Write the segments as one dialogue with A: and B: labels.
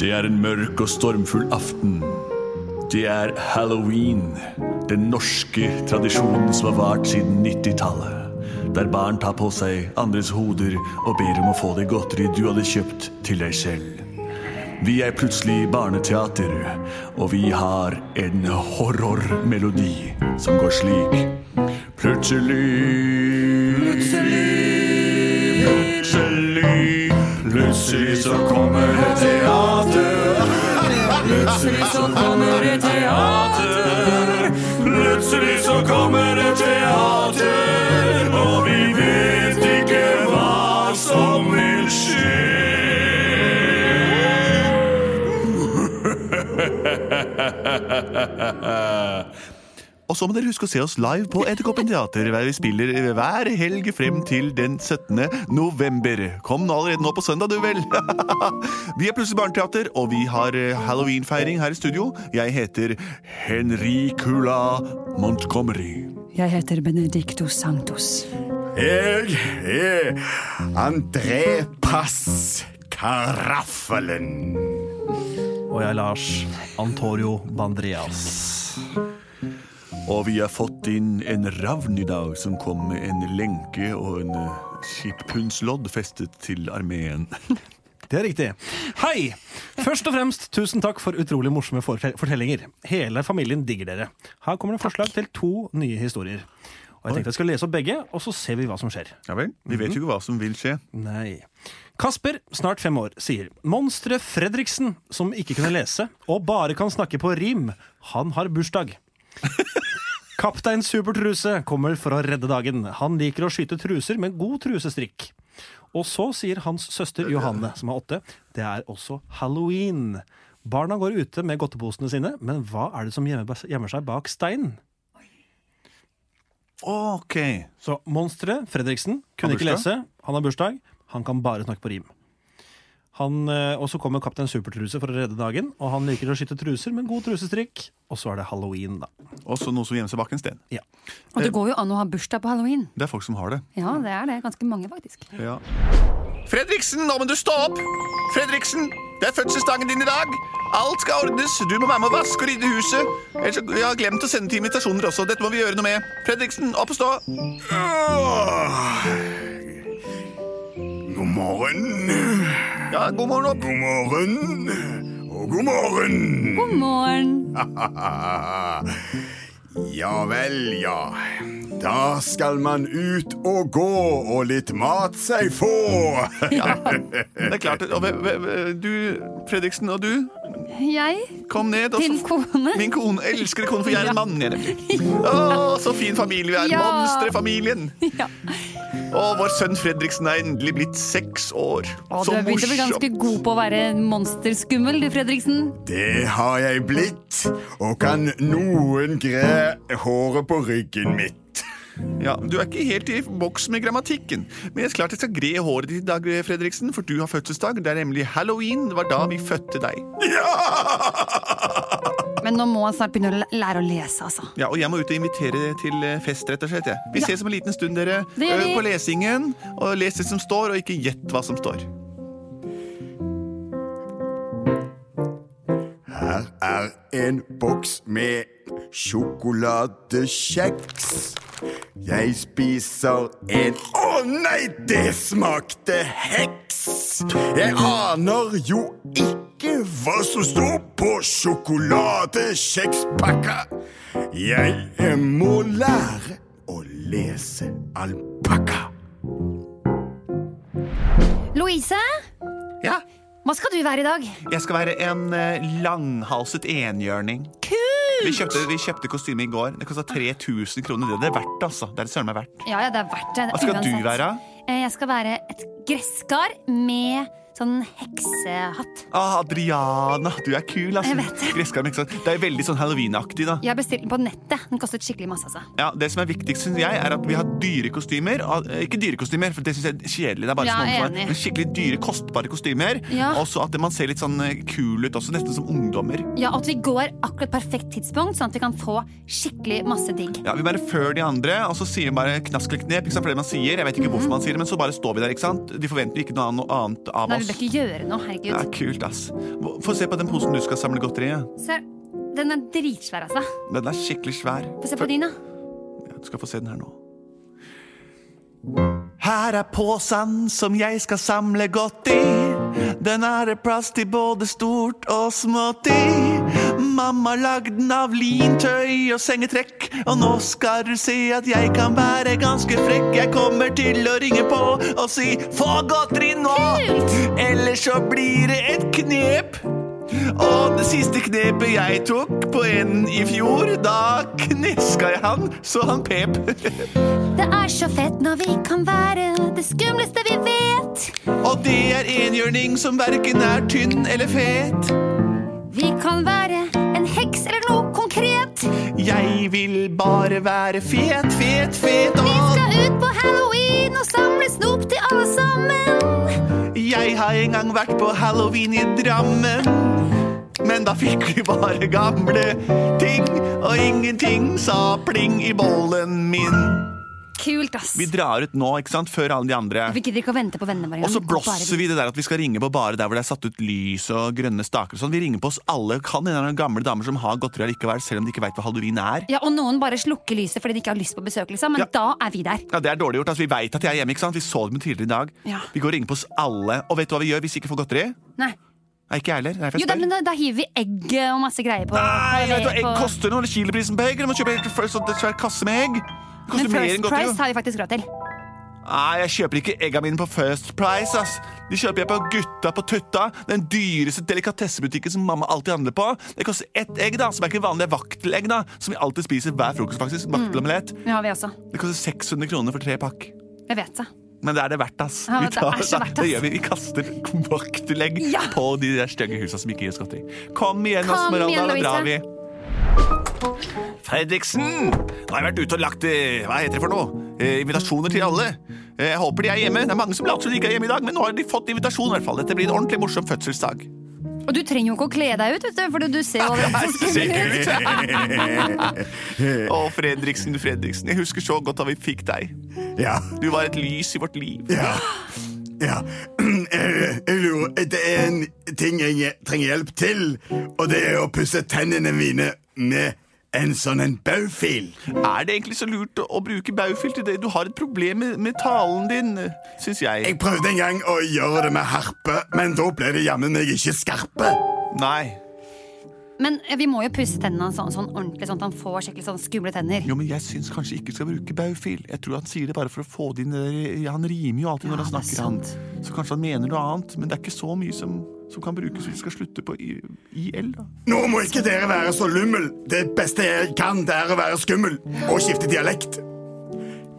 A: Det er en mørk og stormfull aften. Det er halloween. Den norske tradisjonen som har vart siden 90-tallet. Der barn tar på seg andres hoder og ber om å få det godteri du hadde kjøpt til deg selv. Vi er plutselig barneteater, og vi har en horrormelodi som går slik. Plutselig Plutselig Plutselig så kommer det teater. Plutselig så kommer det teater. Plutselig så kommer det teater, og vi vet ikke hva som vil skje.
B: Og så må dere huske å se oss live på Edderkoppen teater, der vi spiller hver helg frem til den 17. november. Kom nå allerede nå på søndag, du vel! vi er plutselig barneteater, og vi har eh, halloweenfeiring her i studio. Jeg heter Henricula Montgomery.
C: Jeg heter Benedicto Sanctus.
D: Jeg er André Pass Karaffelen.
E: Og jeg er Lars Antorio Bandreas.
A: Og vi har fått inn en ravn i dag som kom med en lenke og en eh, skippunnslodd festet til armeen.
E: Det er riktig. Hei! Først og fremst, tusen takk for utrolig morsomme fortell- fortellinger. Hele familien digger dere. Her kommer det forslag til to nye historier. Og jeg tenkte jeg skal lese opp begge, og så ser vi hva som skjer.
B: Ja vel, vi vet jo ikke hva som vil skje.
E: Nei. Kasper, snart fem år, sier monsteret Fredriksen, som ikke kunne lese og bare kan snakke på rim, han har bursdag. Kaptein Supertruse kommer for å redde dagen. Han liker å skyte truser med god trusestrikk. Og så sier hans søster Johanne, som er åtte, det er også halloween. Barna går ute med godteposene sine, men hva er det som gjemmer gjemmer seg bak steinen?
B: Ok.
E: Så monsteret, Fredriksen, kunne
B: Har
E: ikke
B: bursdag?
E: lese. Han har bursdag. Han kan bare snakke på rim. Han, eh, og så kommer Kaptein Supertruse for å redde dagen. Og han liker å skyte truser med god trusestrikk. Og så er det halloween, da.
B: Også noe som gjemmer seg bak en sten.
E: Ja.
C: Og
B: Eh.
C: det går jo an å ha bursdag på halloween.
B: Det er folk som har det.
C: Ja, det er det. Ganske mange, faktisk.
B: Ja. Fredriksen, nå må du stå opp! Fredriksen, det er fødselsdagen din i dag. Alt skal ordnes. Du må være med å vaske og rydde huset. Ellers, vi har glemt å sende til invitasjoner også. Dette må vi gjøre noe med. Fredriksen, opp og stå.
D: God morgen.
B: Ja, god morgen opp.
D: God morgen. Og god morgen.
C: God morgen!
D: Ja vel, ja. Da skal man ut og gå og litt mat seg få.
B: Det er klart. Og, ve- ve- ve- du, Fredriksen, og du,
C: Jeg,
B: kom ned. Og så-
C: din kone
B: Min kone, elskede kone, for jeg er en mann. Jeg, nemlig. Å, så fin familie vi er.
C: Ja.
B: Monsterfamilien.
C: ja.
B: Og vår sønn Fredriksen er endelig blitt seks år.
C: Å, Du
B: Så
C: har begynt å bli
B: morsomt.
C: ganske god på å være monsterskummel, du, Fredriksen.
D: Det har jeg blitt, og kan noen gre håret på ryggen mitt.
B: Ja, Du er ikke helt i boks med grammatikken. Men jeg er klart jeg skal gre håret ditt i dag, Fredriksen, for du har fødselsdag. Det er nemlig halloween. Det var da vi fødte deg.
C: Men nå må han snart begynne å læ- lære å lese, altså.
B: Ja, Og jeg må ut og invitere til eh, fest, rett og slett. jeg. Vi
C: Ja.
B: ses om en liten stund, dere.
C: Det gjør
B: Øv
C: vi.
B: på lesingen. Og les det som står, og ikke gjett hva som står.
D: Her er en boks med sjokoladekjeks. Jeg spiser en Å nei, det smakte heks! Jeg aner jo ikke hva som står på sjokoladekjekspakka. Jeg må lære å lese alpakka.
C: Louise,
B: Ja,
C: hva skal du være i dag?
B: jeg skal være en eh, langhalset enhjørning. Vi kjøpte, vi kjøpte kostyme i går. Det kosta 3000 kroner. Det er det verdt, altså. Det er det søren meg verdt.
C: Ja, ja, det er verdt det.
B: Hva skal du være?
C: Eh, Jeg skal være et gresskar med sånn heksehatt.
B: Ah, Adriana, du er kul, altså.
C: Jeg vet det.
B: Gresskar med heksa. Det er veldig sånn Halloween-aktig, da.
C: Jeg bestilte den på nettet. Den kostet skikkelig masse. altså.
B: Ja, Det som er viktigst, synes jeg, er at vi har dyre kostymer. Ah, eh, Ikke dyre kostymer, for det synes jeg er kjedelig. Det er bare
C: Ja,
B: sånn
C: enig.
B: men Skikkelig dyre, kostbare kostymer.
C: Ja.
B: Og så at man ser litt sånn eh, kul ut også, nesten som ungdommer.
C: Ja, At vi går akkurat perfekt tidspunkt, sånn at vi kan få skikkelig masse digg.
B: Ja, Vi bare før de andre, og så sier vi bare knask eller knep. Ikke sant, for det man sier, Jeg vet ikke hvorfor man sier det, men så bare står vi der. ikke sant? De forventer jo ikke noe annet- noe annet av
C: Nei, vi
B: oss.
C: bør ikke gjøre noe. herregud.
B: Ja, kult, ass. Hva- Få se på den posen du skal samle godteri i.
C: Se, den er dritsvær, altså.
B: Den er skikkelig svær.
C: Få se på din, da.
B: Ja, Du skal få se den her nå. Her er posen som jeg skal samle godt i. Den er det plass til både stort og smått i. Mamma lagde den av lintøy og sengetrekk. Og nå skal du se at jeg kan være ganske frekk. Jeg kommer til å ringe på og si 'få godteri nå', ellers så blir det et knep. Og det siste knepet jeg tok på en i fjor, da kneska jeg han så han pep.
C: Det er så fett når vi kan være det skumleste vi vet.
B: Og det er enhjørning som verken er tynn eller fet.
C: Vi kan være en heks eller noe konkret.
B: Jeg vil bare være fet, fet, fet,
C: Vi
B: og
C: skal ut på halloween og samle snop til alle sammen.
B: jeg har en gang vært på halloween i Drammen. Men da fikk vi bare gamle ting, og ingenting sa pling i bollen min.
C: Kult, ass.
B: Vi
C: Vi
B: drar ut nå, ikke sant, før alle de andre.
C: gidder ikke å vente på vennene våre.
B: Og så blåser vi det der at vi skal ringe på bare der hvor det er satt ut lys og grønne staker. og Sånn. Vi ringer på oss alle. Kan en eller annen gamle damer som har godteri likevel, selv om de ikke veit hva halloween er.
C: Ja, Og noen bare slukker lyset fordi de ikke har lyst på besøk, liksom. Men
B: Ja.
C: da er vi der.
B: Ja, Det er dårlig gjort. altså Vi veit at de er hjemme. ikke sant? Vi så dem tidligere i dag.
C: Ja.
B: Vi går og ringer på oss alle. Og vet du hva vi gjør hvis vi ikke får godteri?
C: Nei.
B: Nei, ikke jeg heller. Nei, for
C: Jo,
B: jeg
C: da,
B: spør.
C: men da, da hiver vi egg eh, og masse greier på.
B: Nei, vet du hva, egg
C: på-
B: koster noe. eller Kiloprisen på egg. Du må kjøpe helt first, en svær kasse med egg. Det
C: Men
B: koster mer
C: First
B: enn godteri.
C: Price
B: jo.
C: har vi faktisk råd til.
B: Nei, jeg kjøper ikke egga mine på First Price, ass. De kjøper jeg på Gutta på Tutta, den dyreste delikatessebutikken som mamma alltid handler på. Det koster ett egg, da, som er ikke vanlige vaktelegg, da, som vi alltid spiser hver frokost, faktisk. Vaktelomelett.
C: Det har vi også.
B: Det koster 600 kroner for tre pakk.
C: Jeg vet det.
B: Men det er det verdt, ass.
C: Ja,
B: Vi
C: det er så verdt, ass.
B: det gjør vi. Vi kaster vaktelegg
C: Ja.
B: på de der stygge husa som ikke gir oss godteri. Kom igjen,
C: Kom
B: Esmeralda,
C: igjen,
B: da drar vi.
C: Louise.
B: Fredriksen! Nå har jeg vært ute og lagt eh, hva heter det for noe? Eh, invitasjoner til alle. Eh, jeg håper de er hjemme. Det er mange som later som de ikke er hjemme i dag, men nå har de fått invitasjon. i hvert fall. Dette blir en ordentlig morsom fødselsdag.
C: Og du trenger jo ikke å kle deg ut, vet du, for du ser jo overalt så skummel ut.
B: Å, Fredriksen, Fredriksen. Jeg husker så godt da vi fikk deg.
D: Ja.
B: Du var et lys i vårt liv.
D: Ja. ja. Jeg lurer Det er en ting jeg trenger hjelp til, og det er å pusse tennene mine med en sånn en baufil.
B: Er det egentlig så lurt å, å bruke baufil til det? Du har et problem med, med talen din, syns jeg.
D: Jeg prøvde en gang å gjøre det med harpe, men da ble det jammen meg ikke skarpe.
B: Nei.
C: Men eh, vi må jo pusse tennene sånn, sånn ordentlig, sånn at han får skikkelig sånn skumle tenner.
B: Jo, men jeg syns kanskje ikke du skal bruke baufil. Jeg tror han sier det bare for å få det inn i- Han rimer jo alltid
C: Ja,
B: når han
C: det er
B: snakker, han. Så kanskje han mener noe annet, men det er ikke så mye som, som kan brukes hvis vi skal slutte på i- IL, da.
D: Nå må ikke dere være så lummel. Det beste jeg kan, det er å være skummel og skifte dialekt.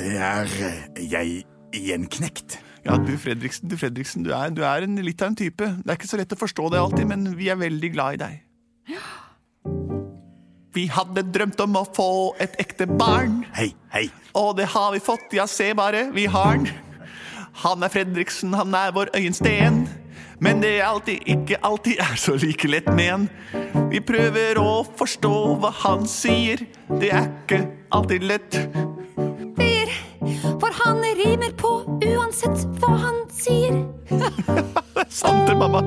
D: Det er eh, jeg gjenknekt.
B: Ja, du Fredriksen, du Fredriksen, du er, du er en, litt av en type. Det er ikke så lett å forstå det alltid, men vi er veldig glad i deg. Vi hadde drømt om å få et ekte barn.
D: Hei, hei.
B: Og det har vi fått, ja se bare, vi har den. Han er Fredriksen, han er vår øyensten. Men det er alltid, ikke alltid er så like lett med en. Vi prøver å forstå hva han sier. Det er ikke alltid lett.
C: For han rimer på uansett hva han sier.
B: Sant det, mamma?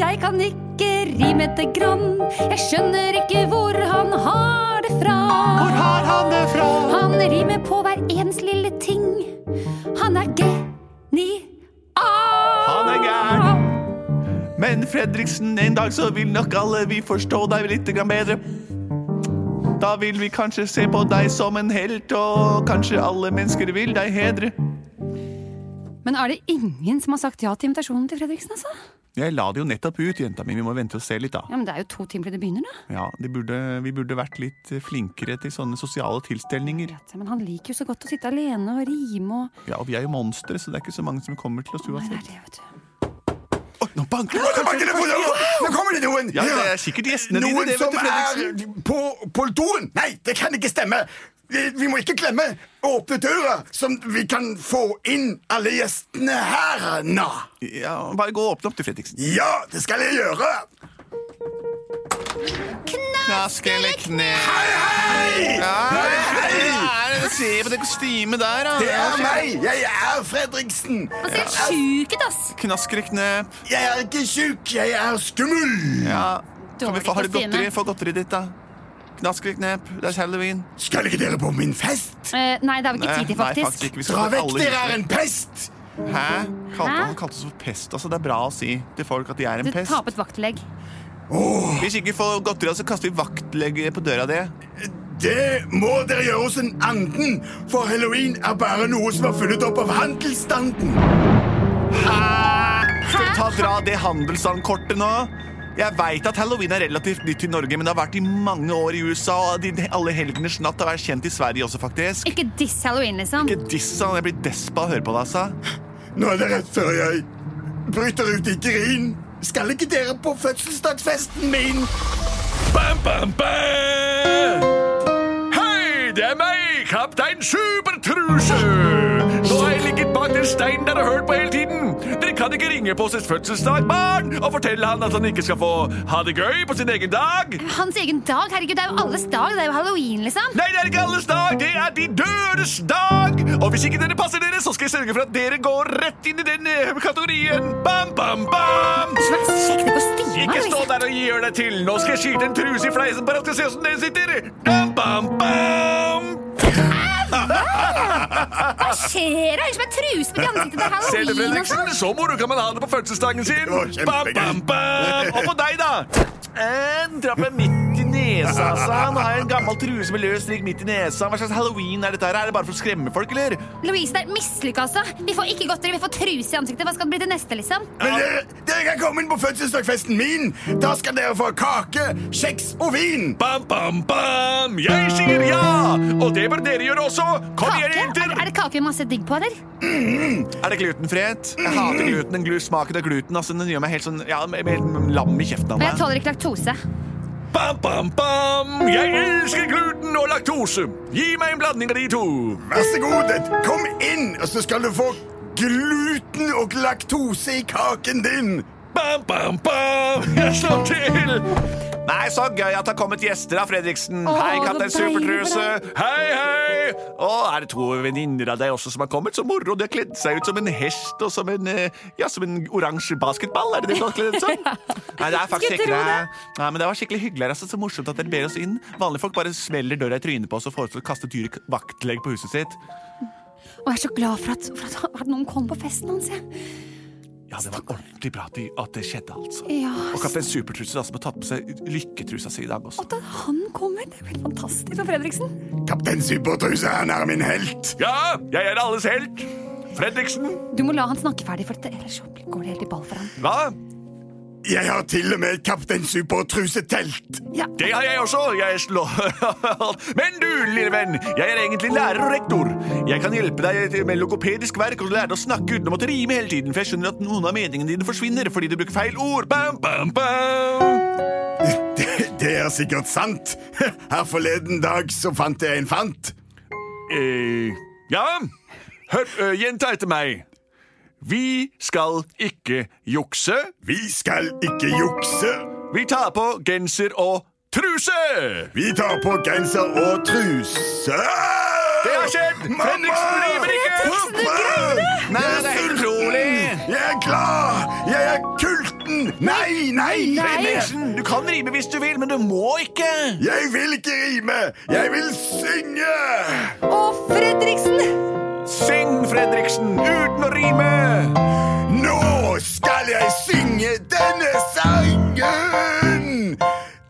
C: Jeg kan ikke rime til grann. Jeg skjønner ikke hvor han har det fra.
B: Hvor har han det fra?
C: Han rimer på hver ens lille ting. Han er genial.
B: Han er gæren. Men Fredriksen, en dag så vil nok alle vi forstå deg litt grann bedre. Da vil vi kanskje se på deg som en helt, og kanskje alle mennesker vil deg hedre.
C: Men er det ingen som har sagt ja til invitasjonen til Fredriksen, altså?
B: Jeg la det jo nettopp ut, jenta mi. Vi må vente og se litt, da.
C: Ja, men Det er jo to timer til det begynner, da.
B: Ja, de burde, Vi burde vært litt flinkere til sånne sosiale tilstelninger.
C: Vet jeg, Men han liker jo så godt å sitte alene og rime og
B: Ja, og vi er jo monstre, så det er ikke så mange som kommer til oss
C: Nei, det
B: uansett.
C: er det, vet du.
B: Oi, nå banker
D: Nå
B: det!
D: banker det på døra! Nå kommer det noen!
B: Ja, det er sikkert gjestene dine,
D: Noen
B: det, vet
D: som
B: du, Fredriksen.
D: er på, på doen! Nei, det kan ikke stemme! Vi, vi må ikke glemme å åpne døra, så vi kan få inn alle gjestene her. Nå.
B: Ja, bare gå og åpne opp, du, Fredriksen.
D: Ja, det skal jeg gjøre.
B: Knask eller kne...
D: Hei, hei!
B: Hei,
D: hei!
B: er det? Se på det kostymet der,
D: Det er meg! Jeg er Fredriksen!
C: Han ser helt sjuk ut, ass!
B: Knask eller knep.
D: Jeg er ikke sjuk, jeg er skummel!
B: Ja. Kan vi
C: Dårlig
B: få, har du
C: kostyme.
B: godteri? Få godteriet ditt, da. Knask eller knep. Det er halloween.
D: Skal ikke dere på min fest?
C: Eh, nei, det er jo ikke tid til,
B: nei,
C: faktisk.
B: ikke. Vi skal
D: Dra
B: få
D: vekk,
B: alle
D: dere
B: hit.
D: er en pest!
B: Hæ? Kalte,
C: Hæ?
B: han kalte oss for pest. Altså, det er bra å si til folk at de er en
C: Du
B: pest.
C: tar på et vaktlegg.
B: Hvis ikke vi får godteri, så kaster vi vaktlegger på døra di.
D: Det må dere gjøre hos en anden, for halloween er bare noe som er funnet opp av handelsstanden.
B: Skal vi ta dra det handelsstandkortet nå? Jeg veit at halloween er relativt nytt i Norge, men det har vært i mange år i USA. Og de- alle helgenes natt har vært kjent i Sverige også, faktisk.
C: Ikke diss halloween, liksom.
B: Ikke diss han, jeg blir despa av å høre på deg, altså.
D: Nå er det rett før jeg bryter ut i grin. Skal ikke dere på fødselsdagsfesten min?
A: Bam, bam, bam! Hei, det er meg, kaptein Supertruse! Nå har jeg ligget bak den steinen dere har hørt på hele tiden. Dere kan ikke ringe på sitt fødselsdag, barn, og fortelle han at han ikke skal få ha det gøy på sin egen dag.
C: Hans egen dag, herregud, det er jo alles dag. Det er jo halloween, liksom.
A: Nei, det er ikke alles dag, det er de dødes dag! Og hvis ikke dere passer dere, så skal jeg sørge for at dere går rett inn i den eh, kategorien. Bam, bam, bam!
C: Ikke vær kjekk det kostymet.
A: Ikke stå
C: Louise.
A: der og gjør deg til. Nå skal jeg skyte en truse i fleisen bare at du ser hvordan den sitter. Bam, bam, bam!
C: Hva skjer? Har ikke med truse på
A: Ser
C: ansiktet til
A: du,
C: halloween, altså.
A: Fredriksen? Så moro kan man ha det på fødselsdagen sin.
D: var
A: Bam,
D: kjempegøy.
A: bam, bam! Og på deg, da? En trappe midt i nesa, sa han. Har en gammel truse med løs strikk midt i nesa. Hva slags halloween er dette her? Er det bare for å skremme folk, eller?
C: Louise, det er mislykka, altså. Vi får ikke godteri, vi får truse i ansiktet. Hva skal det bli til neste, liksom?
D: Men dere, dere kan komme inn på fødselsdagsfesten min. Da skal dere få kake, kjeks og vin.
A: Bam, bam, bam! Jeg sier ja! Og det bør dere gjøre også. Kom
C: Kake?
A: igjen,
C: Er,
A: jenter!
C: er det kake med masse digg på, eller?
B: Er det glutenfrihet? Jeg hater gluten. Den glu- smaken av gluten altså, den gjør meg helt sånn ja, jeg blir helt lam i kjeften av
C: Og jeg
B: meg.
C: tåler ikke laktose.
A: Bam, bam, bam! Jeg elsker gluten og laktose. Gi meg en blanding av de to.
D: Vær så god, kom inn, og så skal du få gluten og laktose i kaken din.
A: Bam, bam, bam! Jeg slår til!
B: Nei, så gøy at det har kommet gjester av Fredriksen.
C: Åh,
B: hei, kaptein
C: så deilig
B: Supertruse.
C: for
A: Hei, hei!
B: Å, er det to venninner av deg også som har kommet? Så moro. De har kledd seg ut som en hest og som en eh, Ja, som en oransje basketball. Er det det du har kledd ut som? Nei, det er faktisk
C: Skulle
B: ikke
C: tro
B: det.
C: det.
B: Nei, men det var skikkelig hyggelig. her, Altså, så morsomt at dere ber oss inn. Vanlige folk bare smeller døra i trynet på oss og foreslår å kaste dyr i k- vaktlegg på huset sitt.
C: Og jeg er så glad for at, for at, at noen kom på festen hans, jeg.
B: Ja, det var ordentlig bra at, de, at det skjedde, altså.
C: Ja,
B: Og kaptein Supertruse, da, som har tatt på seg lykketrusa si i dag også.
C: at han kommer. Det blir fantastisk for Fredriksen.
D: Kaptein Supertruse, han er min helt.
A: Ja, jeg er alles helt. Fredriksen.
C: Du må la han snakke ferdig, for dette, ellers så går det helt i ball for han.
A: Hva?
D: Jeg har til og med Kaptein Supertruse-telt.
C: Ja.
A: Det har jeg også. Jeg slår Men du, lille venn, jeg er egentlig lærer og rektor. Jeg kan hjelpe deg til- med logopedisk verk og lære deg å snakke uten å måtte rime hele tiden, for jeg skjønner at noen av meningene dine forsvinner fordi du bruker feil ord. Bam, bam, bam.
D: Det, det er sikkert sant. Her forleden dag så fant jeg en fant.
A: Eh, ja, hør, eh, gjenta etter meg. Vi skal ikke jukse.
D: Vi skal ikke jukse.
A: Vi tar på genser og truse!
D: Vi tar på genser og truse.
A: Det har skjedd! Fredriksen rimer ikke!
B: Nei, det er helt utrolig!
D: Jeg er glad! Jeg er kulten! Nei, nei!
B: Fredriksen, du kan rime hvis du vil, men du må ikke.
D: Jeg vil ikke rime! Jeg vil synge!
C: Å, Fredriksen!
A: Syng, Fredriksen, uten å rime!
D: Nå skal jeg synge denne sangen!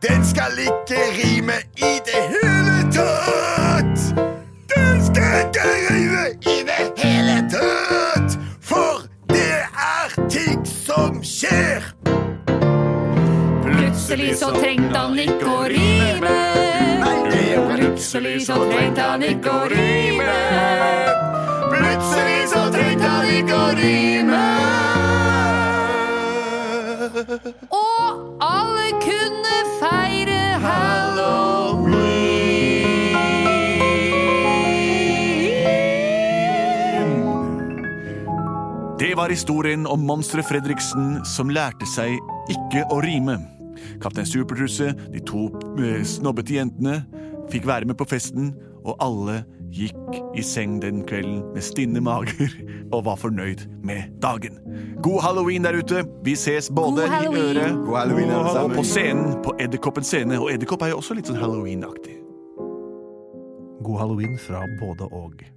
D: Den skal ikke rime i det hele tatt! Den skal ikke rime i det hele tatt! For det er ting som skjer
C: så trengte han ikke å rime. Og plutselig så trengte han ikke å rime.
D: Plutselig så trengte han ikke å rime.
C: Og alle kunne feire halloween.
B: Det var historien om monsteret Fredriksen som lærte seg ikke å rime. Kaptein Supertruse, de to eh, snobbete jentene, fikk være med på festen, og alle gikk i seng den kvelden med stinne mager og var fornøyd med dagen. God halloween der ute! Vi ses både
C: God
B: i
C: halloween.
B: øret
D: God halloween, alle
B: og på
D: sammen.
B: scenen på Edderkoppens scene. Og Edderkopp er jo også litt sånn halloween-aktig.
E: God halloween fra både og.